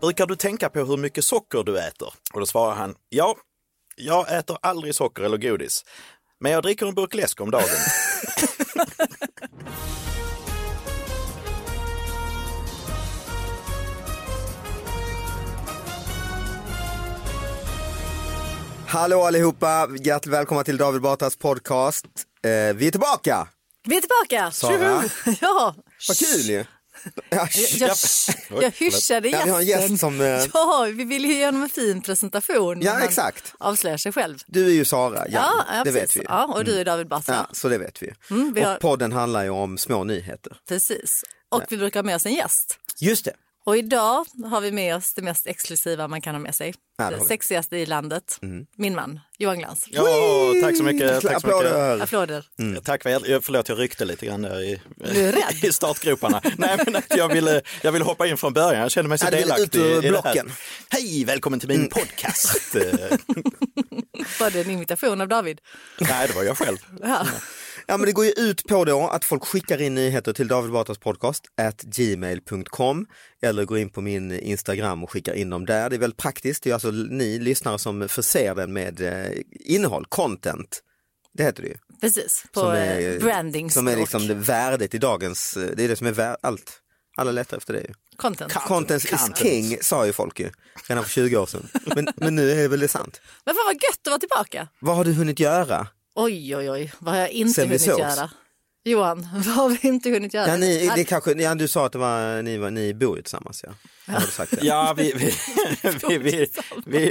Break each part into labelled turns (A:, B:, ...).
A: Brukar du tänka på hur mycket socker du äter? Och då svarar han, ja, jag äter aldrig socker eller godis. Men jag dricker en burk läsk om dagen.
B: Hallå allihopa! Hjärtligt välkomna till David Batras podcast. Eh, vi är tillbaka!
C: Vi är tillbaka!
B: Sara.
C: Ja,
B: Vad kul ju!
C: jag, jag hyschade
B: Ja, vi har en gäst
C: gästen.
B: som... Eh,
C: Ja, vi vill ju ge honom en fin presentation.
B: Ja,
C: när man
B: exakt.
C: Avslöjar sig själv.
B: du är ju Sara, ja,
C: ja,
B: det vet
C: precis.
B: vi. Mm.
C: Ja, och du är David Batra.
B: Ja, så det vet vi.
C: Mm, vi har-
B: Och podden handlar ju om små nyheter.
C: Precis. Och vi brukar ha med oss en gäst.
B: Just det.
C: Och idag har vi med oss det mest exklusiva man kan ha med sig.
B: Ja, det har
C: det
B: vi. Mm.
C: sexigaste i landet. Min man, Johan Glans.
A: Ja, tack så mycket. Tack så mycket.
B: Applåder!
C: Applåder.
B: Mm.
A: Eh, Tack för hjäl- förlåt jag ryckte lite grann där i,
C: Du är rädd.
A: i startgroparna. Nej men att jag ville, jag ville hoppa in från början, jag kände mig så
B: Ja, du ville ut
A: delaktig
B: ur
A: i det här.
B: blocken. Mm.
A: Hej, välkommen till min podcast. Eh,
C: Var det en imitation av David?
A: Nej, det var jag själv.
C: Ja.
B: Mm. Ja, men det går ju ut på då att folk skickar in nyheter till David Batras podcast at gmail.com eller går in på min Instagram och skickar in dem där. Det är väldigt praktiskt. Det är alltså ni lyssnare som förser den med eh, innehåll, content. Det heter det ju.
C: Precis, på
B: Som
C: eh, branding
B: Som är liksom det
C: språk.
B: värdet i dagens, eh, det är det som är värt allt. Alla letar efter det ju.
C: Content.
B: Content is
A: Content.
B: king sa ju folk ju, redan för 20 år sedan. Men, men nu är väl det sant.
C: Men fan vad gött att vara tillbaka.
B: Vad har du hunnit göra?
C: Oj, oj, oj, vad har jag inte
B: Sen vi
C: hunnit
B: sågs.
C: göra? Johan, vad har vi inte hunnit göra?
B: Ja, ni, det
C: Allt.
B: kanske, ja, du sa att det var, ni, var, ni bor ju tillsammans ja. Har du sagt det?
A: Ja, vi, vi, vi, vi, vi, vi,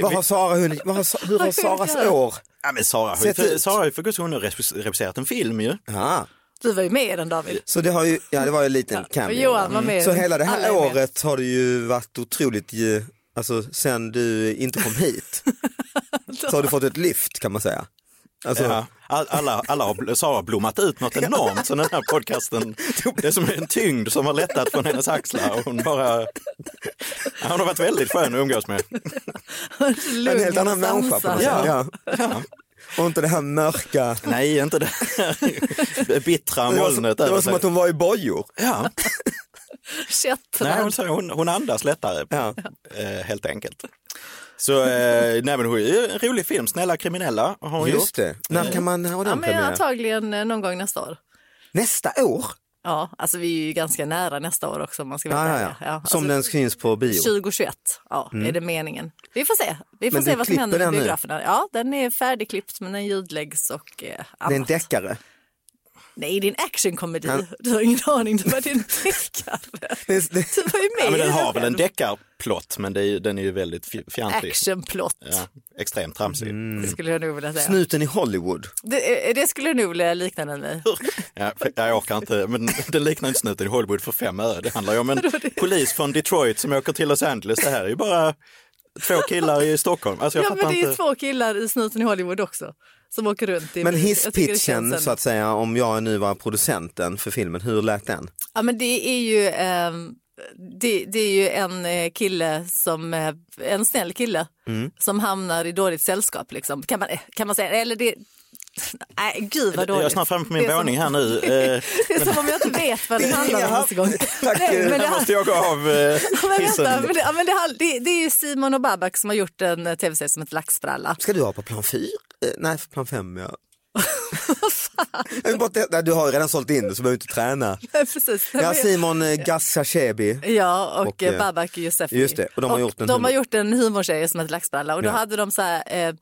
B: Vad har Sara hunnit, vad har, Sa- hur har Saras
C: göra?
B: år?
A: ja, men Sara har ju
B: Sett
A: för,
B: ut.
A: Sara har ju för guds skull nu regiss- regisserat en film ju.
B: Ja.
C: Du var ju med i den David.
B: Så det har ju, ja det var ju en liten cameo.
C: Johan var med.
B: Så hela det
C: Alla
B: här
C: är med.
B: året har det ju varit otroligt, ju- alltså sen du inte kom hit så har du fått ett lyft kan man säga. Alltså,
A: Ja. All- Alla, alla har, bl- Sara har blommat ut något enormt så den här podcasten, det är som en tyngd som har lättat från hennes axlar och hon bara, Ja, hon har varit väldigt skön att umgås med.
C: Lugn
B: en helt
C: och
B: annan människa på
C: sansad.
B: något sätt. Ja. Och inte det här mörka,
A: Nej, inte det här bittra
B: det var, som,
A: molnet
B: det var
A: över
B: som
A: sig.
B: att hon var i bojor.
A: Ja, nej, hon,
C: Kätterna.
A: säger- hon, hon andas lättare,
B: Ja.
A: eh, helt enkelt. Så, eh, nej men hon en rolig film, Snälla kriminella har hon
B: Just
A: gjort.
B: det, när kan man ha
C: Ja,
B: den
C: men
B: premiär?
C: antagligen eh, någon gång nästa år.
B: Nästa år?
C: Ja, alltså vi är ju ganska nära nästa år också om man ska vara
B: Ja,
C: ärlig.
B: ja, ja.
C: alltså,
B: Som den syns på bio.
C: 2021, ja, är det meningen. Vi får se, vi får
B: Mm. Men
C: se
B: du
C: vad som
B: klipper
C: händer med
B: den nu?
C: biograferna. Ja, den är färdigklippt men den ljudläggs och eh, annat.
B: Det är en deckare.
C: Nej, det är en actionkomedi. Du har ingen aning, du bara, det är en deckare.
B: Det är, det,
C: Du var ju med
A: Ja, men
C: i
A: den har
C: själv.
A: väl en deckarplott men det är, ju- den är ju väldigt fj- fjantig.
C: Actionplott,
A: Ja, extremt tramsig.
C: det skulle jag nog vilja säga.
B: snuten i Hollywood.
C: Det, eh, det skulle jag nog vilja likna den med.
A: Ja, för- jag orkar inte, men den liknar inte snuten i Hollywood för fem öre. Det handlar ju om en polis från Detroit som åker till Los Angeles. Det här är ju bara två killar i Stockholm. Alltså, jag
C: Ja,
A: fattar
C: men det är ju
A: inte.
C: två killar i snuten i Hollywood också. som åker runt i
B: Men
C: bil. Jag tycker det känns
B: hisspitchen
C: ändå-
B: så att säga, om jag nu var producenten för filmen, hur lät den?
C: Ja men det är ju, ehm, det, det är ju en eh, kille som, eh, en snäll kille
A: Mm.
C: som hamnar i dåligt sällskap liksom. Kan man, eh, kan man säga, eller det, nej gud vad dåligt.
A: Jag är snart framme på min
C: Det är som-
A: våning här nu. Eh,
C: Det är som om jag inte vet vad det handlar om
B: Jaha.
C: ens en gång.
B: Tack,
C: Nej,
B: eh,
C: men det,
A: här måste jag gå av eh,
C: men vänta,
A: hissen.
C: men det, ja, men det, hand- det, det är ju Simon och Babak som har gjort en eh, tv-serie som heter Laxbralla.
B: Ska du ha på plan 4? Nej, för plan 5 ja. Jag vill bara te- Nej, du har ju redan sålt in det så behöver du inte träna.
C: Precis.
B: Ja, Simon eh, Gassashebi.
C: Ja, och,
B: Och,
C: eh,
B: eh,
C: Babak och Josefi.
B: just det, och de har gjort en
C: de
B: humor.
C: har gjort en humorserie som heter Laxbralla och då
B: Ja.
C: hade de så här, eh,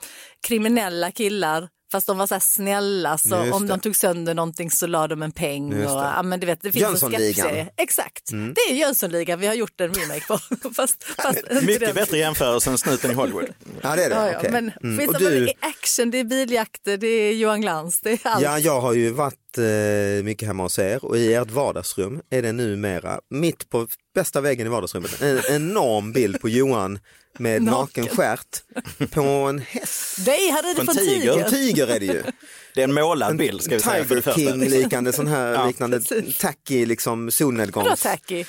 C: kriminella killar Fast de var så här snälla, så
B: Just
C: om
B: det.
C: de tog sönder någonting så la de en peng. Och,
B: Just det.
C: ja, men du vet, det finns en
B: Jönssonligan. Mm.
C: sketchserie. Exakt, det är Jönssonligan vi har gjort en remake på. fast, fast inte den.
A: Mycket bättre jämförelse än snuten i Hollywood.
B: Ja det är det,
C: Ja, ja,
B: okej.
C: Men
B: Mm.
C: finns
B: Och
C: det, men
B: du,
C: det är action, det är biljakter, det är Johan Glans, det är allt.
B: ja jag har ju varit eh, mycket hemma hos er och i ert vardagsrum är det numera, mitt på bästa väggen i vardagsrummet, en enorm bild på Johan med
C: Naken.
B: naken stjärt på en häst.
C: Nej, här är det
A: En
C: från
A: tiger.
C: tiger.
B: En tiger är det ju.
A: Det är en målad bild ska vi säga för det
B: Tiger
A: första.
B: King-liknande sån här liknande
C: precis.
B: tacky liksom solnedgångs...
C: Vadå tacky?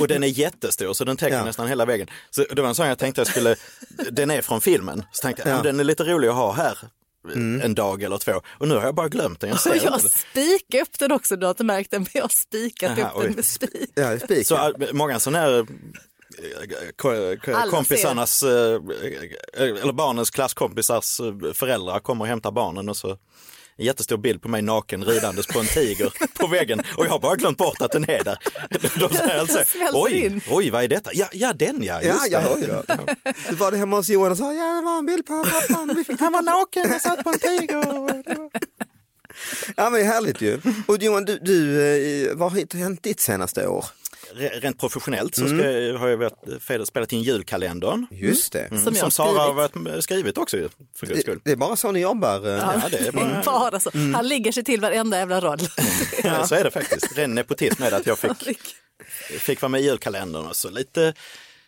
A: Och den är jättestor så den täcker
B: Ja.
A: nästan hela väggen. Så det var en sån jag tänkte jag skulle, den är från filmen, så tänkte jag
B: Ja. Mm.
A: "Ah, den är lite rolig att ha här en dag eller två. Och nu har jag bara glömt den, jag
C: Och
A: ser inte
C: jag
A: den.
C: spikade upp den också, du har inte märkt den, men jag har spikat
A: Aha,
C: upp den
A: oj.
C: med spik.
B: Ja, spik.
A: Så äh, många sådana här äh, ko- ko-
C: Alla
A: kompisarnas, äh, eller barnens klasskompisars äh, föräldrar kommer och hämtar barnen och så en jättestor bild på mig naken ridandes på en tiger på väggen och jag har bara glömt bort att den är där. De säger alltså,
C: Smälter in.
A: oj, oj, vad är detta? Ja, ja den ja,
B: Ja,
A: just
B: jag
A: det.
B: hör ju det. Du var det hemma hos Johan och sa, ja det var en bild på pappan. Han var naken och satt på en tiger. och det var- Ja men det är härligt ju. Och Johan, du, du, eh, vad har hänt ditt senaste år?
A: Re- Rent professionellt så ska,
B: Mm.
A: har jag varit, fel- spelat in julkalendern. Mm,
B: Just det.
C: Som jag har
A: Sara har
C: skrivit.
A: varit med- skrivit också ju, för guds
B: Det,
A: skull.
B: det är bara så ni jobbar. eh.
A: Ja, det är bara,
C: Bara så. alltså.
B: Mm.
C: Han ligger sig till varenda jävla rad.
A: ja, så är det faktiskt. Ren nepotism är det att jag fick fick vara med i julkalendern och så lite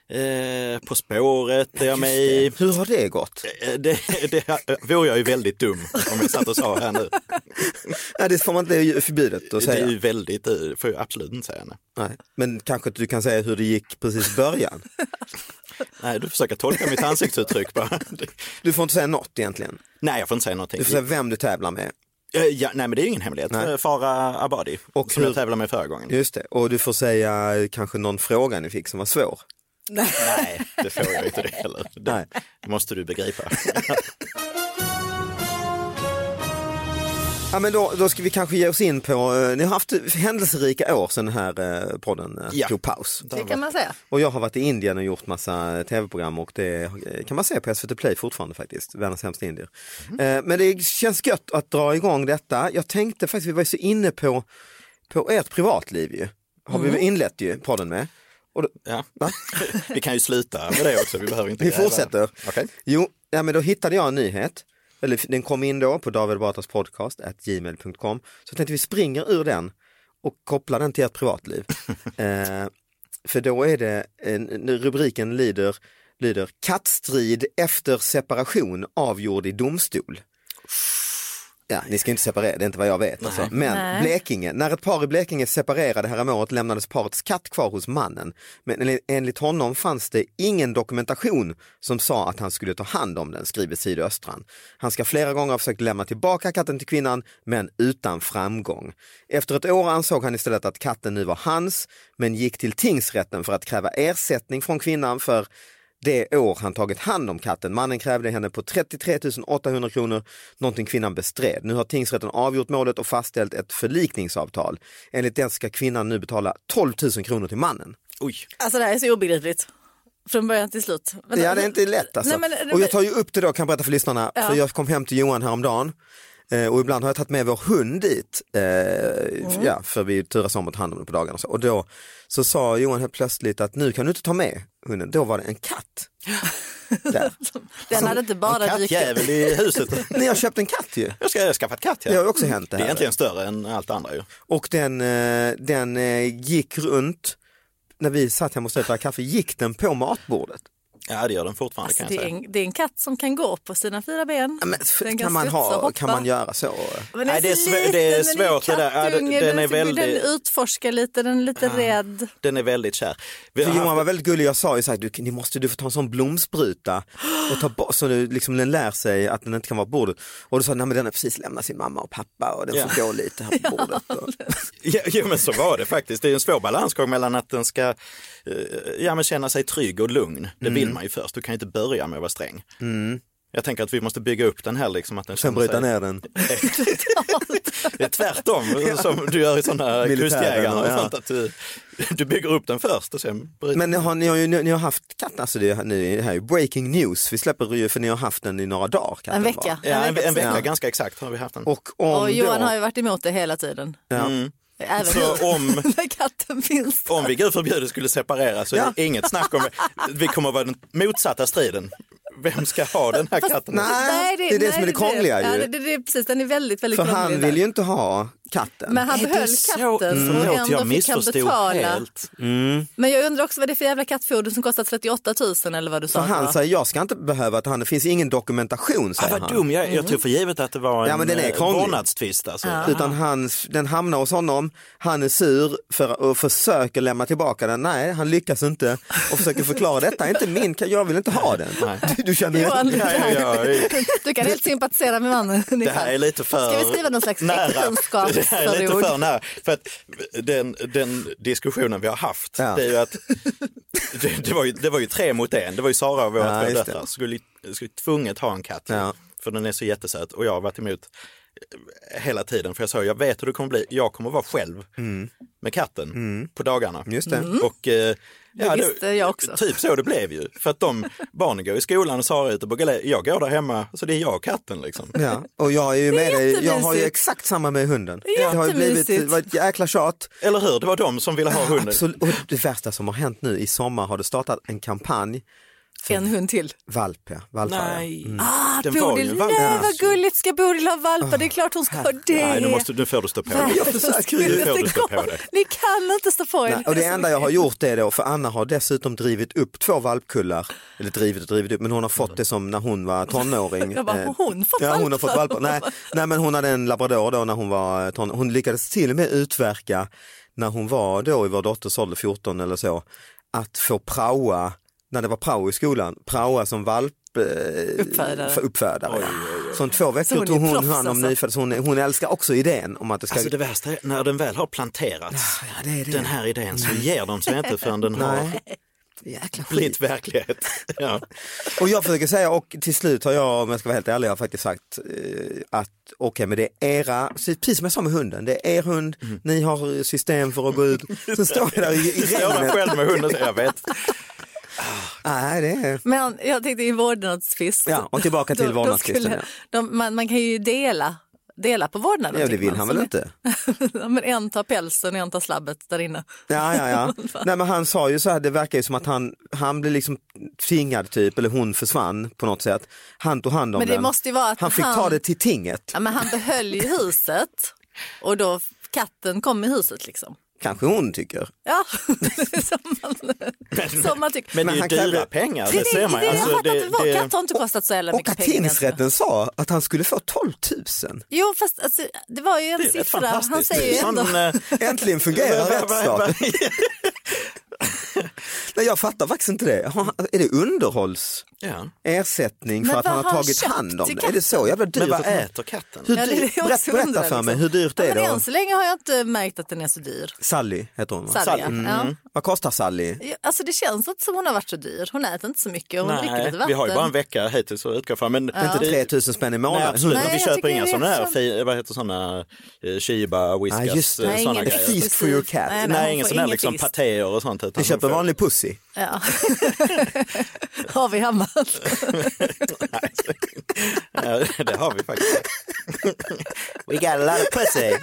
A: eh, På spåret är jag med i.
B: Hur har det gått?
A: Eh, Det, det vore jag ju väldigt dum om jag satt och sa här nu.
B: Ja, det får man inte, det är ju förbjudet att
A: Det är ju
B: säga.
A: väldigt, det får jag absolut inte säga. Nej,
B: Nej. Men kanske att du kan säga hur det gick precis i början.
A: nej du försöker tolka mitt ansiktsuttryck bara.
B: Du får inte säga något egentligen.
A: Nej, jag får inte säga någonting.
B: Du får säga vem du tävlar med.
A: Eh, Ja, nej, men det är ju ingen hemlighet. Eh,
B: Nej.
A: Farah Abadi,
B: Och
A: som
B: hur-
A: jag tävlade med förra gången.
B: Just det, och du får säga eh, kanske någon fråga ni fick som var svår.
A: Nej, det får jag inte det heller. Det
B: Nej.
A: måste du begripa.
B: Ja, men då, då ska vi kanske ge oss in på, eh, ni har haft händelserika år sedan den här eh, podden eh,
A: Ja.
B: tog paus.
C: Det kan man säga.
B: Och jag har varit i Indien och gjort massa eh, tv-program och det eh, kan man se på SVT Play fortfarande faktiskt, Världens hemska indier.
C: Mhm.
B: Eh, Men det känns gött att dra igång detta. Jag tänkte faktiskt, vi var ju så inne på, på ert privatliv ju, har
C: Mm.
B: vi inlett ju podden med. Och då,
A: Ja.
B: va?
A: Vi kan ju sluta med det också. Vi behöver inte
B: Vi
A: gräva.
B: fortsätter.
A: Okej.
B: Jo, ja, men då hittade jag en nyhet. Eller den kom in då på David Batras podcast, at gmail.com. Så tänkte vi springer ur den och kopplar den till ert privatliv. eh, för då är det, en, en- rubriken lyder, lyder Kattstrid efter separation avgjord i domstol. Ja, ni ska inte separera, det är inte vad jag vet. Alltså. Men Blekinge, när ett par i Blekinge separerade häromåret lämnades parets katt kvar hos mannen. Men enli- enligt honom fanns det ingen dokumentation som sa att han skulle ta hand om den, skriver Sydöstran. Han ska flera gånger ha försökt lämna tillbaka katten till kvinnan, men utan framgång. Efter ett år ansåg han istället att katten nu var hans, men gick till tingsrätten för att kräva ersättning från kvinnan för det år han tagit hand om katten. Mannen krävde henne på 33 800 kronor, någonting kvinnan bestred. Nu har tingsrätten avgjort målet och fastställt ett förlikningsavtal. Enligt den ska kvinnan nu betala 12 000 kronor till mannen.
A: Oj.
C: Alltså det här är så obegripligt. Från början till slut. Men-
B: Ja, det är inte lätt alltså.
C: Nej, men-
B: och jag tar ju upp det då, kan berätta för lyssnarna, för jag kom hem till Johan häromdagen eh, och ibland har jag tagit med vår hund dit, eh,
C: Mm.
B: ja, för vi turas om att ta hand om den på dagarna. Och, så. och då så sa Johan helt plötsligt att nu kan du inte ta med hunden, då var det en katt. Där. Alltså,
C: Den hade inte
A: En
C: bara dykt upp.
A: kattjävel i huset.
B: Nej, jag köpte en katt ju.
A: Jag ska jag har skaffat katt. Ja. Mm.
B: Det har också hänt det
A: det,
B: här.
A: är egentligen större än allt andra ju.
B: Och den, eh, den eh, gick runt, när vi satt hemma och stötte kaffe, gick den på matbordet.
A: Ja, det gör den fortfarande
C: Alltså,
A: kan
C: det,
A: jag
C: är
A: säga.
C: en, det är en katt som kan gå på sina fyra ben.
B: Ja, Men, f-
C: Den
B: kan, man
C: studsa och
B: ha,
C: hoppa.
B: kan man göra så?
C: Men
A: Nej,
C: den
A: det är
C: så
A: svå- det är
C: liten, den
A: svårt det där. Ja, det-
C: kattunge,
A: den
C: den,
A: är
C: är väldigt... den
A: väldigt-
C: utforskar lite, den är lite rädd.
A: Den är väldigt kär. Vi
B: För
A: har
B: Johan
A: haft-
B: var väldigt gullig, jag sa ju så här, du, ni måste, du får ta en sån blomspruta och ta bort, så du, liksom, den lär sig att den inte kan vara på bordet. Och du sa, nej men den har precis lämnat sin mamma och pappa och den får
A: Ja.
B: gå lite här på bordet. Och,
A: Ja, ja, men så var det faktiskt. Det är en svår balansgång mellan att den ska eh, ja, men känna sig trygg och lugn. Det vill
B: Mm.
A: man ju först. Du kan ju inte börja med att vara sträng. Jag tänker att vi måste bygga upp den här. Liksom, att den
B: sen
A: känner
B: bryta
A: sig-
B: ner den.
A: Det är tvärtom som du gör i sådana
B: Militären,
A: kustjägare. Och
B: ja.
A: sånt, att du, du bygger upp den först och sen bryter
B: Men ni har, ni har ju ni, ni har haft katten, alltså det, är- nu är det här är ju breaking news, vi släpper ju, för ni har haft den i några dagar. katten
C: En
B: var.
C: vecka.
A: Ja, en, en vecka
B: Ja.
A: ganska exakt har vi haft den.
B: Och om
C: Och Johan
B: då,
C: har ju varit emot det hela tiden. Mm.
B: ja. Mm.
C: Även
A: Så
C: nu,
A: om,
C: när katten finns.
A: om vi gud förbjude skulle separera så är det inget snack om Vi kommer vara den motsatta striden. Vem ska ha den här katten?
B: Nej, det är det som är det krångliga
C: Ja,
B: ju.
C: det, det, det, är precis, den är väldigt, väldigt
B: För
C: krånglig.
B: han
C: där.
B: vill ju inte ha katten.
C: Men han
A: Är det
C: behöll
A: så?
C: katten
A: Mm.
C: och
A: Förlåt,
C: ändå
A: jag
C: fick han
A: missförstod
C: betala.
A: helt.
C: Men jag undrar också vad det är för jävla kattfoder som kostar 38 000 eller vad du
B: Så
C: sa. att det var.
B: han säger, jag ska inte behöva att han, det finns ingen dokumentation
A: Ah,
B: säger
A: vad
B: han.
A: dum jag är. Jag tror för givet att det var en
B: Ja, men den är
A: eh,
B: krånglig.
A: vårdnadstvist. Alltså.
B: Utan han, den hamnar hos honom, han är sur för, och försöker lämna tillbaka den, nej han lyckas inte och försöker förklara detta är inte min, ka- jag vill inte ha den. Du, du känner
C: Johan,
B: ju...
C: det
A: Ja,
C: här-
A: ja, ja.
C: Du kan helt sympatisera med mannen.
A: Det här är lite för
C: Ska vi skriva någon slags
A: nära. Det här är lite
C: äktenskapsförord?
A: för nära. För att den, den diskussionen vi har haft,
B: Ja.
A: det är ju att det, det, var ju, det var ju tre mot en. Det var ju Sara och våra
B: Ja,
A: två
B: just det.
A: döttrar. Skulle, ju- skulle tvunget ha en katt.
B: Ja.
A: För den är så jättesöt och jag har varit emot eh, hela tiden. För jag sa, jag vet hur det kommer bli. Jag kommer vara själv med katten på dagarna.
B: Just det.
A: Och, eh, ja,
C: visste jag också.
A: Typ så det blev ju. För att de barnen går i skolan och Sara är ute på galej. Jag går där hemma, så det är jag och katten liksom.
B: Ja, och jag är ju med dig, jag har ju
C: jättemysigt.
B: exakt samma med hunden.
C: är
B: Det har ju blivit, det
C: jättemysigt.
B: var ett jäkla tjat.
A: Eller hur? Det var de som ville ha hunden.
B: Absolut. Och det värsta som har hänt nu i sommar har det startat en kampanj,
C: En hund till.
B: valp valpar.
C: Ah,
A: Mm. Den var ju
C: Bodil,
A: en valp.
C: nej vad gulligt ska Bodil ha valpar, det är klart hon ska ha det.
A: Ah, Nej, nu, måste, nu får du stå på
C: Nej,
A: dig.
C: jag
A: försöker
C: skulle
A: ju.
C: inte
A: Nu får du stå på
C: gå.
A: dig.
C: Ni kan inte stå på er.
B: Nej, och det enda jag har gjort är då, för Anna har dessutom drivit upp två valpkullar, eller drivit och drivit upp, men hon har
A: Mm.
B: fått det som när hon var tonåring.
C: Jag bara,
B: Eh,
C: har hon fått
B: ja, hon har
C: valpar?
B: fått valpar. Nej, nej men hon hade en labrador då när hon var tonåring, hon lyckades till och med utverka när hon var då i vår dotters ålder, 14 eller så, att få praoa, när det var prao i skolan, praoa som valp eh,
C: Uppfödare.
B: för uppfödare. Så om två
C: Så
B: veckor
C: hon är
B: tog hon
C: proffs,
B: hand om
C: alltså.
B: nyfödda, så hon, hon älskar också idén om att det ska
A: Alltså det värsta är när den väl har planterats, den här idén, så ger de sig inte förrän den har
B: Nej. Jäkla skit.
A: blivit verklighet. Ja.
B: Och jag försöker säga, och till slut har jag, om jag ska vara helt ärlig, jag har faktiskt sagt eh, att okej, men det är era, precis som jag sa med hunden, det är er hund,
A: Mm.
B: ni har system för att gå ut. Sen står jag där i, i
A: Du står där
B: regnet.
A: själv med hunden, så jag vet.
B: Nej, det är...
C: Men jag tänkte i vårdnadstvist.
B: Ja, och tillbaka till
C: Då- då
B: vårdnadstvisten,
C: skulle-
B: ja.
C: de- Man, man kan ju dela, dela på vårdnaden.
B: Ja, det
C: tycker
B: vill
C: man.
B: han
C: Så
B: väl
C: ni-
B: inte?
C: Ja, men en tar pälsen och en tar slabbet där inne.
B: Ja, ja, ja. Nej, men han sa ju så här, det verkar ju som att han, han blev liksom tvingad typ, eller hon försvann på något sätt. Han tog hand om
C: Men det
B: den.
C: måste ju vara att
B: han fick
C: han-
B: ta det till tinget.
C: Ja, men han behöll ju huset och då katten kom i huset liksom.
B: Kanske hon tycker.
C: Ja, som man, som man tycker.
A: Men,
B: Men han
A: det är ju
B: kan
A: dyra
B: väl-
A: pengar, det,
C: det,
A: ser man ju.
C: det, jag
A: Alltså,
C: fattar inte, vår
A: det-
C: katt har inte kostat så jävla
B: Och
C: mycket
B: att
C: pengar. alltså. egentligen.
B: tingsrätten sa att han skulle få 12 000.
C: Jo, fast alltså, det var ju en
A: det är rätt
C: siffra. Han
A: fantastiskt.
C: säger ju
A: Sån,
C: ändå...
A: eh,
B: Äntligen fungerar
A: vad- vad- vad-
B: rättsstaten. Nej jag fattar faktiskt inte det. Har- Är det underhållsersättning
A: Ja.
B: för att
C: Men
B: han
C: vad
B: har
C: har han
B: tagit
C: köpt
B: hand om
C: till
B: det? Är det så jävla dyrt?
A: Men vad
B: att man-
A: äter katten?
B: Hur
C: Ja, det är det
B: dyrt-
C: jag
B: Berätta,
C: också
B: berätta
C: undrar,
B: för mig,
C: liksom.
B: hur dyrt
C: Ja,
B: är
C: men
B: det?
C: Än så länge har jag inte märkt att den är så dyr.
B: Sally heter hon va? Mm.
C: Sally, ja. Ja.
B: Vad kostar Sally?
C: Ja, Alltså det känns inte som hon har varit så dyr. Hon äter inte så mycket och hon dricker
A: Nej,
C: lite vatten.
A: vi har ju bara en vecka hittills att utgå från. Men
B: Inte 3 000 spänn i
A: Nej,
B: månaden?
A: absolut.
C: Nej,
A: vi
C: jag
A: köper
C: tycker
A: inga
C: det är
A: sådana här,
C: som-
A: fi- vad heter sådana, eh, Chiba,
B: Ja, just
A: Whiskas,
B: det.
A: eh,
C: Nej,
A: sådana
C: ingen
A: grejer.
B: Feast for your cat.
C: Nej,
A: Nej,
C: hon
A: ingen
C: får
A: sån här
C: ingen
A: liksom
C: feast.
A: patéer och sånt. utan
B: Ni
A: hon
B: köper
A: får-
B: vanlig pussy?
C: Ja. har vi hemma.
A: Ja, det har vi faktiskt.
B: We got a lot of pussy.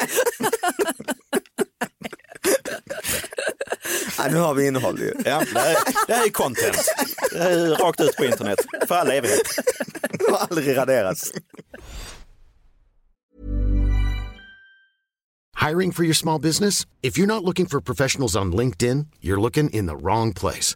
B: ja, nu har vi innehåll ju.
A: Ja, det, här, det här är content. Det här är rakt ut på internet för all evighet.
B: Det har aldrig raderats.
D: Hiring for your small business? If you're not looking for professionals on LinkedIn, you're looking in the wrong place.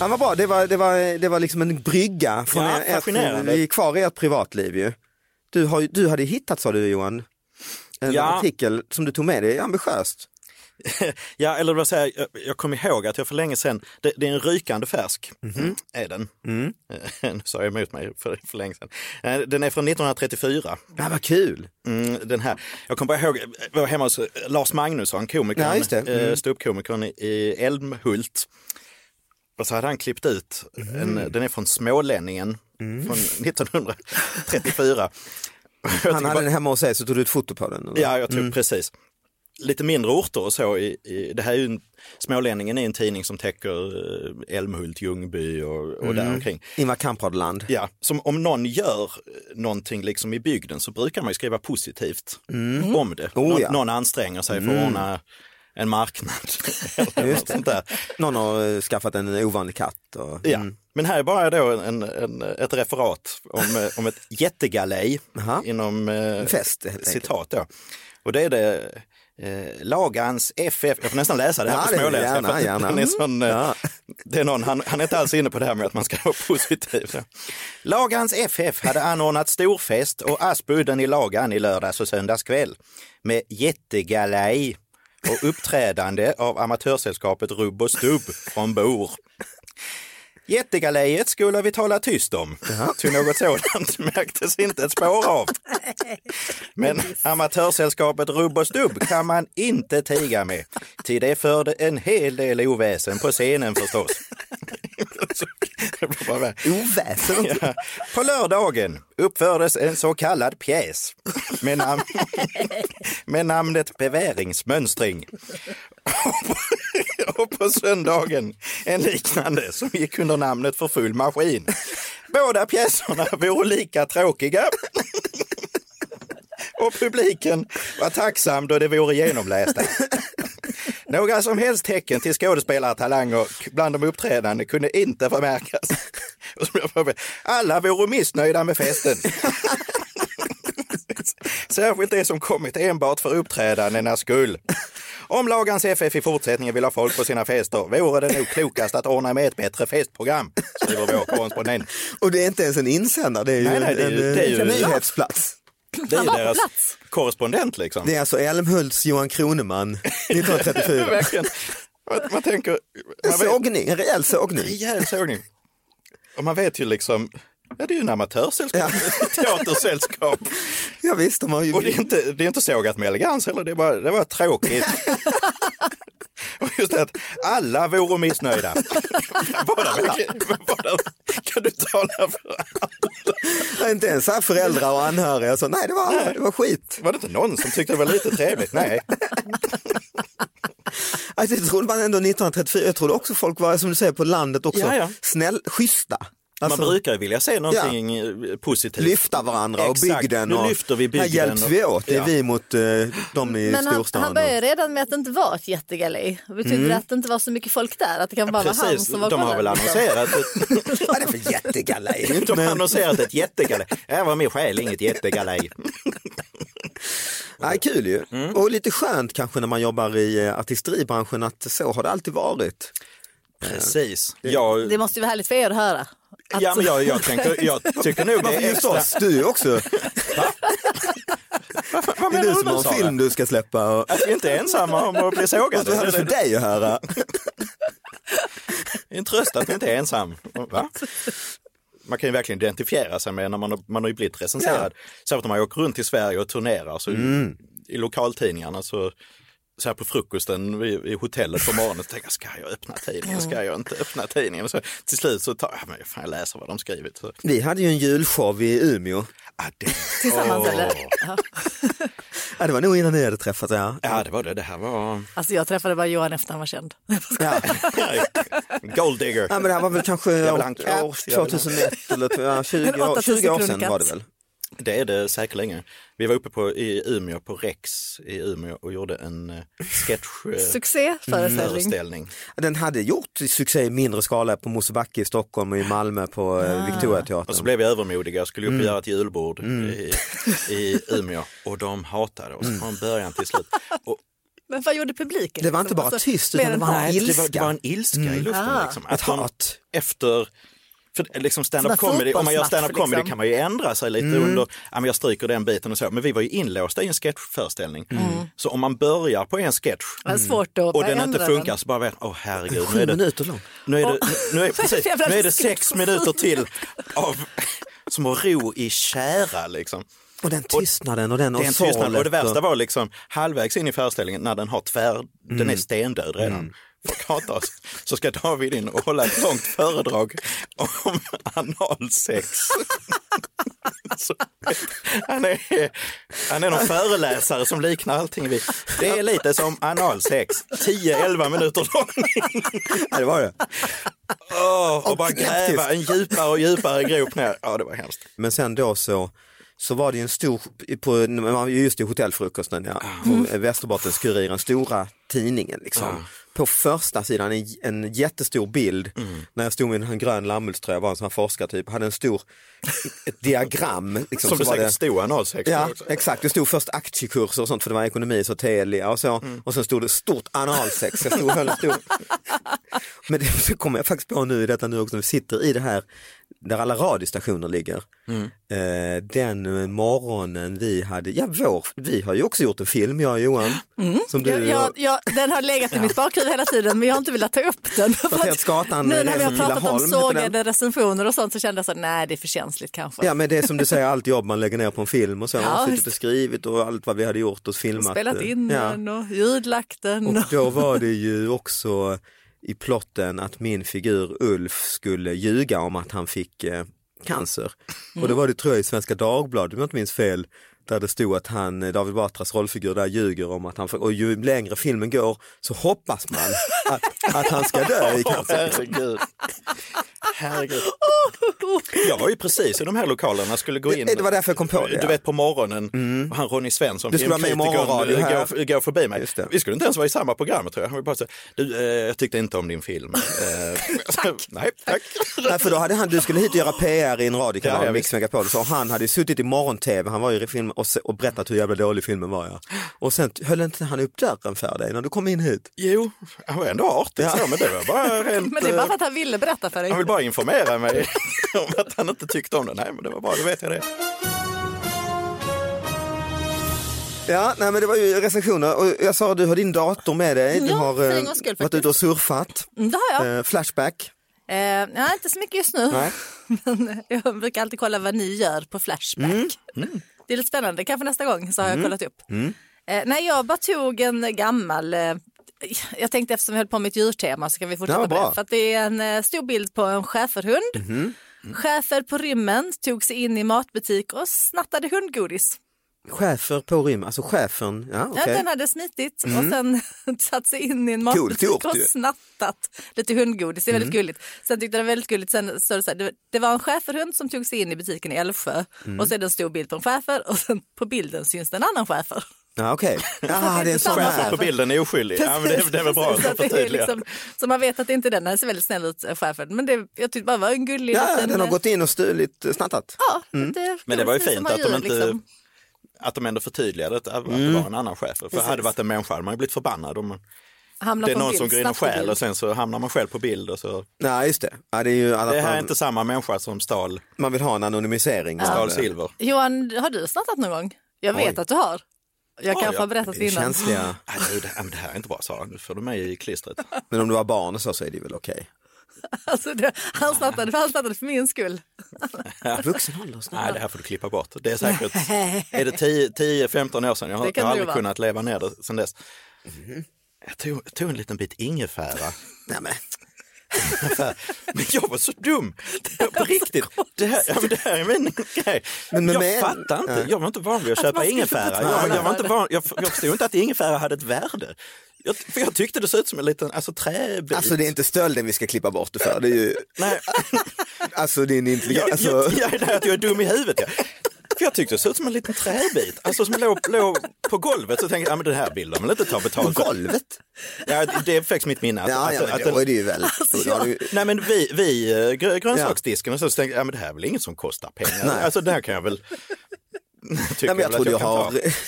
B: Ja, vad bra, det var, det, var, det var liksom en brygga från
A: Ja,
B: er, ert,
A: fascinerande.
B: vi är kvar i ert privatliv ju. Du, har, ju- du hade hittat sa du Johan, en
A: Ja.
B: artikel som du tog med dig, ambitiöst.
A: Ja, eller vad säger jag, jag kommer ihåg att jag för länge sedan, det, det är en rykande färsk,
B: Mhm.
A: Mm, är den.
B: Mm.
A: Eh, nu sa jag emot mig för, för länge sedan. Eh, Den är från 1934.
B: Ja, vad kul!
A: Mm, den här. Jag kommer bara ihåg, jag var hemma hos eh, Lars Magnusson, komikern,
B: Ja, just det. Mm.
A: eh, ståuppkomikern i- i Älmhult. Och så hade han klippt ut,
B: Mm.
A: en, den är från Smålänningen från 1934. Jag
B: Han
A: tycker
B: hade
A: bara-
B: den hemma hos sig så tog du ett foto på den. eller?
A: Ja, jag tror precis. Lite mindre orter och så. I, i, det här är ju en, Smålänningen är en tidning som täcker eh, Älmhult, Ljungby och, och
B: Mm.
A: där omkring.
B: Ingvar Kamprad-land.
A: Ja, som om någon gör eh, någonting liksom i bygden så brukar man ju skriva positivt om det.
B: Oh,
A: någon,
B: ja. Mm.
A: någon anstränger sig för att ordna en marknad. Eller något sånt där.
B: Någon har eh, skaffat en ovanlig katt. Och...
A: Ja. Mm. Men här är bara då en, en, ett referat om, eh, om ett jättegalej
B: Aha.
A: inom eh,
B: fest, helt
A: citat. Då. Och det är det eh, Lagans FF, jag får nästan läsa det här
B: Ja,
A: på
B: det-
A: småländska.
B: gärna,
A: för att
B: gärna. Mm.
A: den är sån, eh, det är någon, han, han är inte alls inne på det här med att man ska vara positiv. Så. Lagans FF hade anordnat storfest och Aspudden i Lagan i lördags och söndags kväll med jättegalej och uppträdande av amatörsällskapet Rubb och Stubb från Bor. Jättegalejet skulle vi tala tyst om, ty något sådant märktes inte ett spår av. Men amatörsällskapet Rubb och Stubb kan man inte tiga med, ty det förde en hel del oväsen på scenen förstås. Det blir bara värre.
B: Oväsen!
A: Ja. På lördagen uppfördes en så kallad pjäs med, nam- med namnet Beväringsmönstring. Och på söndagen en liknande som gick under namnet För full maskin. Båda pjäserna vore lika tråkiga och publiken var tacksam då det vore genomlästa. Några som helst tecken till skådespelartalanger bland de uppträdande kunde inte förmärkas. Och som jag förberedde, Alla vore missnöjda med festen. Särskilt de som kommit enbart för uppträdandenas skull. Om Lagans FF i fortsättningen vill ha folk på sina fester vore det nog klokast att ordna med ett bättre festprogram, skriver vår korrespondent.
B: Och det är inte ens en insändare, det är ju
A: Nej, nej, det är
B: en,
A: ju- det är ju-
B: en nyhetsplats.
A: Det är
C: Han var på
A: deras
C: plats.
A: korrespondent liksom.
B: Det är alltså Älmhults Johan Kroneman 1934.
A: Verkligen. Man, man tänker...
B: En
A: Man vet,
B: sågning, en rejäl sågning.
A: rejäl sågning. Och man vet ju liksom, ja det är ju en amatörsällskap, ett teatersällskap.
B: Ja, visst, de har ju...
A: Och det är inte, det är inte sågat med elegans heller, det, är bara, det var tråkigt. Och just det att alla vore missnöjda. Båda, båda, kan du tala för
B: Nej, inte ens så här föräldrar och anhöriga. Så, nej, det var, det var skit.
A: Var det inte någon som tyckte det var lite trevligt? Nej.
B: Alltså, det trodde man ändå 1934. Jag trodde också folk var, som du säger, på landet också
A: Ja, ja.
B: snäll, schyssta. Alltså,
A: man brukar ju vilja se någonting eh, positivt.
B: lyfta varandra och
A: Exakt.
B: bygden.
A: Nu
B: och,
A: lyfter vi bygden
B: Här hjälps
A: och-
B: vi åt. Det är
A: Ja.
B: vi mot eh, de i
C: Men han,
B: storstan.
C: han började redan med att det inte var ett jättegalej. Det betyder
B: Mm.
C: att det inte var så mycket folk där, att det kan bara vara han
A: Precis,
C: som var
A: de har
C: kvar
A: väl
C: där.
A: annonserat ett,
B: Vad är det för jättegalej?
A: de har
B: Men-
A: annonserat ett jättegalej. Här var min själ, inget jättegalej.
B: Nej, kul ju.
A: Mm.
B: Och lite skönt kanske när man jobbar i eh, artisteribranschen att så har det alltid varit.
A: Precis. Jag,
C: Det måste ju vara härligt för er att höra. Att,
A: ja, men jag, jag, tänker, jag tycker nog det
B: Varför
A: är
B: just
A: extra...
B: oss? Du också.
A: Vad
B: Det är
A: menar
B: du som har
A: Sara?
B: en film du ska släppa. Och...
A: Att vi inte är ensamma om att bli sågade.
B: Vad hade det för dig att höra?
A: En tröst att inte är ensam. Va? Man kan ju verkligen identifiera sig med när man har, man har ju blivit recenserad. Särskilt om man åker runt i Sverige och turnerar så
B: Mm.
A: i lokaltidningarna så så här på frukosten i, i hotellet på morgonen så tänker jag, ska jag öppna tidningen, ska jag inte öppna tidningen? Så, till slut så tar jag, men fan, jag läser vad de skrivit. Så,
B: Vi hade ju en julshow i Umeå.
C: Tillsammans
A: Åh.
C: eller? Ja.
B: Ja, det var nog innan ni hade träffats. Ja,
A: ja det var det. Det här var...
C: Alltså jag träffade bara Johan efter han var känd.
B: Ja.
A: Golddigger.
B: Ja, men det här var väl kanske
A: Jag vill ha en
B: år,
A: katt, jag vill ha en-
B: 2001 eller ja, 20,
C: En 8000
B: 20 år sedan
C: kronor
B: var det
C: katt.
B: väl?
A: Det är det säkerligen. Vi var uppe på, i Umeå på Rex i Umeå och gjorde en eh, sketch eh,
C: Succéföreställning.
A: föreställning.
B: Den hade gjort succé i mindre skala på Mosebacke i Stockholm och i Malmö på eh, Victoriateatern.
A: Ah. Och så blev vi övermodiga och skulle upp och
B: Mm. Mm.
A: göra ett julbord i, i Umeå och de hatade oss från början till slut. Och,
C: Men vad gjorde publiken?
B: Det var inte
C: liksom?
B: bara
C: Alltså,
B: tyst,
C: mer
B: utan det
C: än
B: var en
C: hat.
A: Nej, det, var, det
B: ilska.
A: var en ilska i
B: Mm.
A: luften.
C: Ah.
A: Liksom,
B: Ett
A: de
B: hat.
A: efter för liksom stand-up
C: Sådär
A: comedy, om man gör
C: fotbollsmatch,
A: stand-up comedy
C: liksom.
A: kan man ju ändra sig lite
B: Mm.
A: under, ja, men jag stryker den biten och så, men vi var ju inlåsta i en sketchföreställning.
B: Mm.
A: Så om man börjar på en sketch
C: Det var svårt att
A: och den
C: ändra
A: inte funkar så bara vet åh herregud, nu är
B: Sju
A: det
B: minuter lång.
A: nu är det,
C: Och-
A: nu är, precis,
C: Jävla
A: nu är det
C: skräck.
A: sex minuter till av, som att ro i tjära. Liksom.
B: Och den tystnaden och den
A: Det är en tystnad. Och det
B: sorlet
A: värsta var liksom halvvägs in i föreställningen när den har tvär,
B: Mm.
A: den är stendöd redan. Folk hatar oss. Så ska David in och hålla ett långt föredrag om analsex. Så, han, är, han är någon föreläsare som liknar allting vi. Det är lite som analsex, 10-11 minuter lång.
B: Ja, det var det.
A: Åh, och bara
B: knäpptyst.
A: gräva en djupare och djupare grop ner. Ja, det var hemskt.
B: Men sen då så, så var det ju en stor, på, just i hotellfrukosten, ja,
A: Ah.
B: på Västerbottens-Kuriren, stora tidningen liksom. På första sidan en, en jättestor bild
A: Mm.
B: när jag stod med en grön lammullströja, var en sån här forskartyp, hade en stor, ett diagram. Liksom,
A: Som
B: så
A: det
B: var
A: säkert stod analsex
B: Ja,
A: också.
B: exakt. Det stod först aktiekurser och sånt för det var ekonomi, så Telia och så.
C: Mm.
B: Och sen stod det stort analsex. Jag stod, och höll, stod. Men det så kommer jag faktiskt på nu i detta nu också, när vi sitter i det här där alla radiostationer ligger.
C: Mm.
B: Eh, den morgonen vi hade, ja vår, vi har ju också gjort en film jag och Johan.
C: Mm.
B: Som du,
C: Jag, jag, jag, den har legat i mitt bakhuvud hela tiden men jag har inte velat ta upp den. För
B: helt skatan,
C: nu
B: det
C: när
B: är
C: vi har
B: som
C: pratat
B: Villaholm,
C: om
B: liksom heter den.
C: sågade recensioner och sånt så kände jag så här, nej det är för känsligt kanske.
B: Ja men det är som du säger, allt jobb man lägger ner på en film och så.
C: Ja,
B: Ja, suttit
C: visst.
B: och skrivit och allt vad vi hade gjort och filmat.
C: Spelat in
B: Ja.
C: den och ljudlagt den.
B: Och då var det ju också i plotten att min figur Ulf skulle ljuga om att han fick eh, cancer. Och då var det tror jag i Svenska Dagbladet, om jag inte minns fel, där det stod att han, eh, David Batras rollfigur där ljuger om att han, och ju längre filmen går så hoppas man att, att han ska dö i
A: Åh,
B: cancer.
A: herregud. herregud. Jag var ju precis i de här lokalerna, skulle gå in.
B: Det var därför jag kom på det.
A: Du
B: ja. Mm.
A: vet på morgonen, och han Ronny Svensson,
B: Du skulle vara med i
A: filmkritikern,
B: morgonradio här.
A: går, går förbi mig.
B: Just det.
A: Vi skulle inte ens vara i samma program tror jag. Han var bara så, här, du, eh, jag tyckte inte om din film. Eh, Nej, tack.
B: Nej, för då hade han, du skulle hit och göra PR i en radiokanal,
A: Ja, ja,
B: Mix
A: visst.
B: Megapol, så han hade ju suttit i morgon-tv, han var ju i film och, se- och berättat hur jävla dålig filmen var. Ja. Och sen höll inte han upp dörren för dig när du kom in hit?
A: Jo, han var ändå artig så, men det var bara rent...
C: Men det är bara för
A: eh,
C: att han ville berätta för dig.
A: Han vill bara informera mig om att han inte tyckte om det. Nej, men det var bra, då vet jag det.
B: Ja, nej, men det var ju recensioner och jag sa att du har din dator med dig, du
C: Ja,
B: har
C: för
B: eh,
C: en gångs skull,
B: varit
C: faktiskt.
B: ute och surfat,
C: Mm, Det har jag.
B: eh, Flashback.
C: Eh, nej, inte så mycket just nu.
B: Nej.
C: Men eh, jag brukar alltid kolla vad ni gör på Flashback.
B: Mm.
C: Mm. Det är lite spännande. Kanske nästa gång så har jag kollat upp.
B: Mm.
C: Eh, nej, jag bara tog en gammal... Eh, jag tänkte eftersom vi höll på med ett djurtema så kan vi fortsätta
B: Ja,
C: på
B: bra. Mhm.
C: det. För att det är en eh, stor bild på en schäferhund. Schäfer på rymmen tog sig in i matbutik och snattade hundgodis.
B: Chefer på rim, alltså chefen, ja
C: Ja,
B: okej. Mm.
C: Den hade smitit och sen satt sig in i en matbutik
B: gjort
C: och
B: ju. Mm.
C: snattat lite hundgodis. Det är väldigt gulligt. Sen tyckte jag det var väldigt gulligt. Sen så det, så här, det, det var en schäferhund som tog sig in i butiken i Älvsjö
B: Mm.
C: och så är det en stor bild på en schäfer och sen på bilden syns det en annan schäfer.
B: Ja okej, ja det är en sån
C: Samma
B: här.
A: Chefen på bilden är oskyldig. Ja, men det, det är väl bra att
C: Så, att det är
A: förtydliga.
C: liksom, så man vet att det inte är den. Den ser väldigt snäll ut, eh, schäfern. Men det, jag tyckte bara det var en gullig
B: Ja,
C: liten,
B: den har
C: eh,
B: gått in och stulit, eh, snattat.
C: Ja, lite
A: Men det var ju
C: gulligt,
A: fint
C: som
A: att de
C: djur,
A: inte
C: liksom.
A: att de ändå förtydligade att, att det var en annan chef. För hade det varit en människa hade man ju blivit förbannad. Om,
C: Hamnar
A: det är
C: på en
A: någon
C: bild,
A: som går in och
C: snattar
A: stjäl
C: bild.
A: och sen så hamnar man själv på bild. Och så.
B: Nej just det, ja, det är ju alla,
A: Det här är
B: man,
A: inte samma människa som stal,
B: man vill ha en anonymisering.
A: stal silver.
C: Johan, har du snattat någon gång? Jag vet
B: Oj.
C: att du har. Jag kanske
A: ja,
C: har berättat
B: Det är
C: innan.
B: känsliga.
A: Ah, du, det, ah, men det här är inte bra, Sara. Nu får du mig i klistret.
B: Men om du var barn och så, så är det väl okej.
C: Alltså det, han, snattade, han snattade för min skull.
B: Vuxen ålder
A: Nej, det här får du klippa bort. Det är säkert, är det 10-15 år sedan? Jag har,
C: Det
A: jag
C: kan det
A: har aldrig
C: vara.
A: kunnat leva ner det sedan dess. Jag tog, jag tog en liten bit ingefära.
B: Nej, men.
A: Men jag var så dum! Jag, på riktigt, det här, ja, men det här är min grej.
B: Men- men-
A: jag
B: men-
A: fattar inte, jag var inte van vid att köpa ingefära. Jag, jag, var inte van, jag, jag förstod inte att ingefära hade ett värde. Jag, för jag tyckte det såg ut som en liten alltså, träbit.
B: Alltså det är inte stölden vi ska klippa bort det för. Det är ju,
A: Nej,
B: alltså din
A: jag,
B: intelligens. Alltså,
A: jag, jag, det här att jag är dum i huvudet. Ja. För jag tyckte det såg ut som en liten träbit, alltså som låg, låg på golvet. Så tänkte jag, ja, men den här bilden vill jag inte ta betalt
B: på
A: för.
B: golvet?
A: Ja, det är faktiskt mitt minne. att-
B: Ja,
A: att-
B: ja, men
A: att-
B: då är det ju väl. då har du-
A: Nej men vi, vi eh, grö- grönsaksdisken och så, så tänkte jag, ja, men det här är väl inget som kostar pengar.
B: Nej.
A: Alltså det här kan jag väl tycka
B: Nej, men jag
A: väl
B: tror
A: att
B: du
A: jag kan
B: har...
A: ta.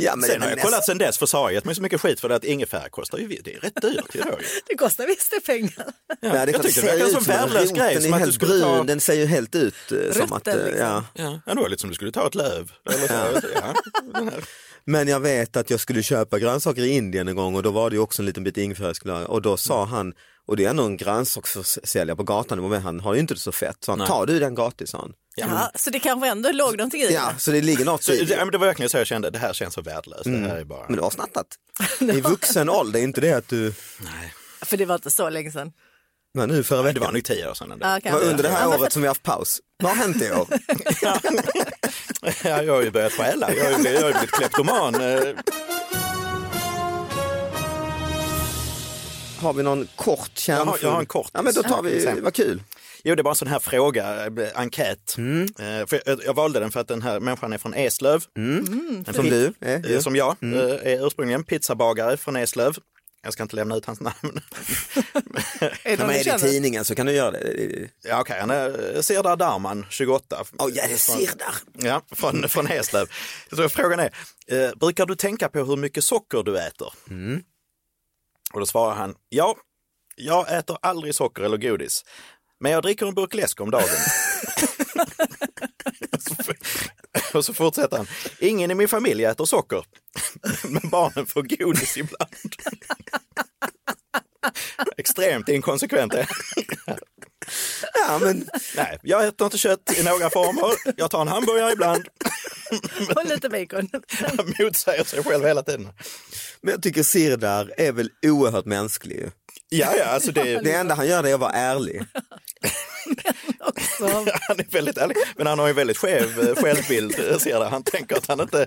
B: Ja, men,
A: Sen har
B: men
A: jag
B: nästan-
A: kollat sen dess för så har jag gett mig så mycket skit för det att ingefära kostar ju, det är rätt dyrt. ju då ju.
C: Det kostar visst det pengar.
A: Ja,
B: Nej, det är
A: jag
B: klart, det
A: tyckte det
B: ser
A: verkar
B: ut
A: som en värdelös
B: rot,
A: grej.
B: Den
A: Som
B: är
A: att du
B: helt
A: skulle
B: brun,
A: ta...
B: den ser ju helt ut eh, som att... eh,
C: liksom.
B: ja.
A: Ja, ja, det var lite som du skulle ta ett löv. Eller så. Ja. den här.
B: Men jag vet att jag skulle köpa grönsaker i Indien en gång och då var det ju också en liten bit ingefära jag skulle ha. Och då sa
A: Mm.
B: han, och det är ändå en grönsaksförsäljare på gatan, det var med, han har ju inte det så fett, så han, tar du den gratis sa han.
C: Ja, så det kanske ändå låg någonting i
B: Ja,
C: det.
B: så det ligger något
A: Så,
B: i
A: det, ja,
B: det.
A: men det var verkligen så jag kände, det här känns så värdelöst. Det här är bara...
B: Mm. Men du har snattat. I vuxen ålder, inte det att du...
C: För det var inte så länge sedan.
B: Men nu förra
A: Det
B: veckan.
A: var nog tio år sedan. ändå.
C: Ja,
B: Det
C: kanske.
B: var under det här
C: Ja, men-
B: året som vi har haft paus. Vad har hänt i år?
A: Ja. Ja, jag har ju börjat stjäla, jag har ju blivit, jag har ju blivit kleptoman. eh.
B: Har vi någon kort
A: Jag
B: kärnfull?
A: har- jag har en kort.
B: Ja, men då tar
A: Ja,
B: vi,
A: sen.
B: vad kul. Mm.
A: Jo, det var en sån här fråga, eh, enkät. Eh, För jag, jag valde den för att den här människan är från Eslöv.
C: Mm,
A: En
B: Som
A: pit-
B: du är. Mm.
A: eh,
B: ju.
A: Som jag eh, är ursprungligen, pizzabagare från Eslöv. Jag ska inte lämna ut hans namn.
C: Är det
B: Ja, men
C: någon du
B: är det i
C: känner?
B: tidningen så kan du göra det.
A: Ja, okej, han är Sirdar Darman, 28.
B: Åh, ja, det är Sirdar.
A: Ja, från, från Eslöv. Så frågan är, eh, brukar du tänka på hur mycket socker du äter?
B: Mm.
A: Och då svarar han, ja, jag äter aldrig socker eller godis, men jag dricker en burk läsk om dagen. Och så f- Och så fortsätter han, ingen i min familj äter socker, men barnen får godis ibland. Extremt inkonsekvent. är han.
B: Ja, men
A: Nej, jag äter inte kött i några former. Jag tar en hamburgare ibland.
C: Och lite bacon.
A: Han motsäger sig själv hela tiden.
B: Men jag tycker Sirdar är väl oerhört mänsklig. ju.
A: Ja, ja, alltså det,
B: Det enda han gör det är att vara ärlig.
C: Också.
A: han är väldigt ärlig. Men han har ju en väldigt skev eh, självbild. eh, Ser jag. Han tänker att han inte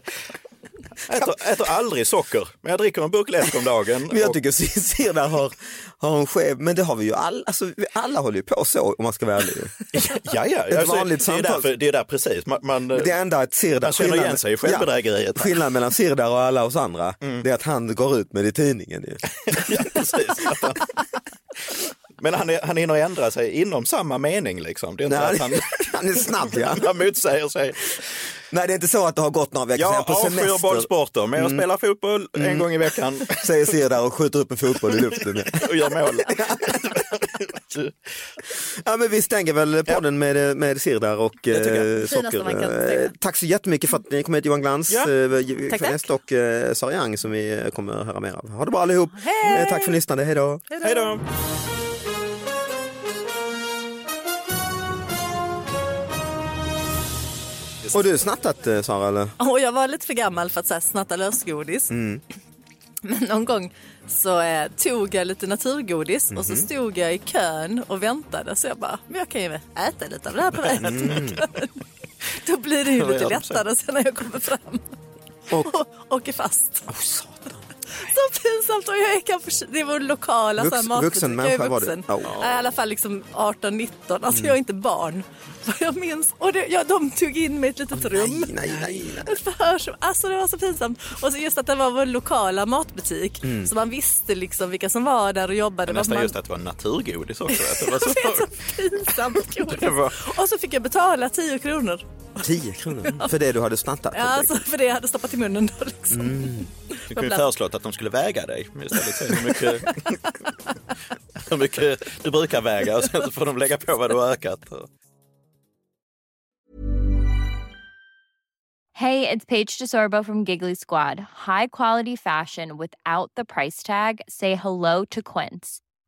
A: äter, äter aldrig socker. Men jag dricker en burk läsk om dagen.
B: Men jag
A: och-
B: tycker Sir- Sirdar har, har en skev, men det har vi ju alla, alltså, vi alla håller ju på så om man ska vara ärlig. ju.
A: ja, ja,
B: Ett vanligt
A: det, är
B: samtal.
A: därför, det är där precis. Man, man, eh,
B: Det enda att Sirdar,
A: Man känner igen sig i självbedrägeriet.
B: skillnaden mellan Sirdar och alla oss andra, det är att han går ut med det i tidningen. Ju.
A: ja, precis. Att han- Men han, är- han hinner ändra sig inom samma mening. Liksom. Det är inte
B: Nej,
A: att han,
B: han är snabb ja.
A: han motsäger sig.
B: Nej det är inte så att det har gått några veckor
A: Jag
B: sedan på
A: avskyr
B: semester, Mm.
A: bollsporter, men jag spelar fotboll en gång i veckan
B: säger Sirdar och skjuter upp en fotboll i luften.
A: och gör mål.
B: Ja men vi stänger väl podden med, med Sirdar och eh,
A: tycker jag.
C: Finaste man kan
B: socker.
C: stänga.
B: Eh, Tack så jättemycket för att ni kom hit Johan Glans,
A: Ja.
B: eh,
C: Tack,
B: Genest och eh, Sara Young som vi eh, kommer att höra mer av. Ha det bra allihop,
C: Hej!
B: Eh, tack för lyssnandet, hej då!
A: Hej då!
B: Har du snattat eh, Sara eller?
C: Och jag var lite för gammal för att så här, snatta lösgodis.
B: Mm.
C: Men någon gång så eh, tog jag lite naturgodis och
B: Mhm.
C: så stod jag i kön och väntade. Så jag bara, men jag kan ju äta lite av det här på vägen.
B: Mm.
C: Då blir det ju
A: Vad
C: lite
A: gör de sen?
C: lättare sen när jag kommer fram. Och, åker fast. Oh, så pinsamt! Och jag är kanske, det var lokala så här
B: Vux-
C: matbutik.
B: vuxen
C: Jag är
B: människa var du?
C: vuxen.
B: Ja. Mm.
C: Ja, I alla fall liksom 18-19. Alltså jag är inte barn. Vad jag minns. Och det, ja, de tog in mig i ett litet rum.
B: Nej, nej, nej.
C: Ett förhör som, alltså det var så pinsamt. Och så just att det var vår lokala matbutik. Så man visste liksom vilka som var där och jobbade. Vad
A: Mm. Nästan
C: man...
A: just att det var naturgodis också. Att det var så...
C: Det är så pinsamt
A: Det var-
C: godis. Och så fick jag betala 10 kronor.
B: 10 kronor för det du hade snattat?
C: Ja, alltså, för det jag hade stoppat i munnen då liksom.
A: Du kunde ju föreslå att de skulle väga dig men istället. Säg hur mycket, hur mycket du brukar väga och sen så får de lägga på vad du har ökat.
E: Hey, it's Paige DeSorbo from Giggly Squad. High quality fashion without the price tag. Say hello to Quince.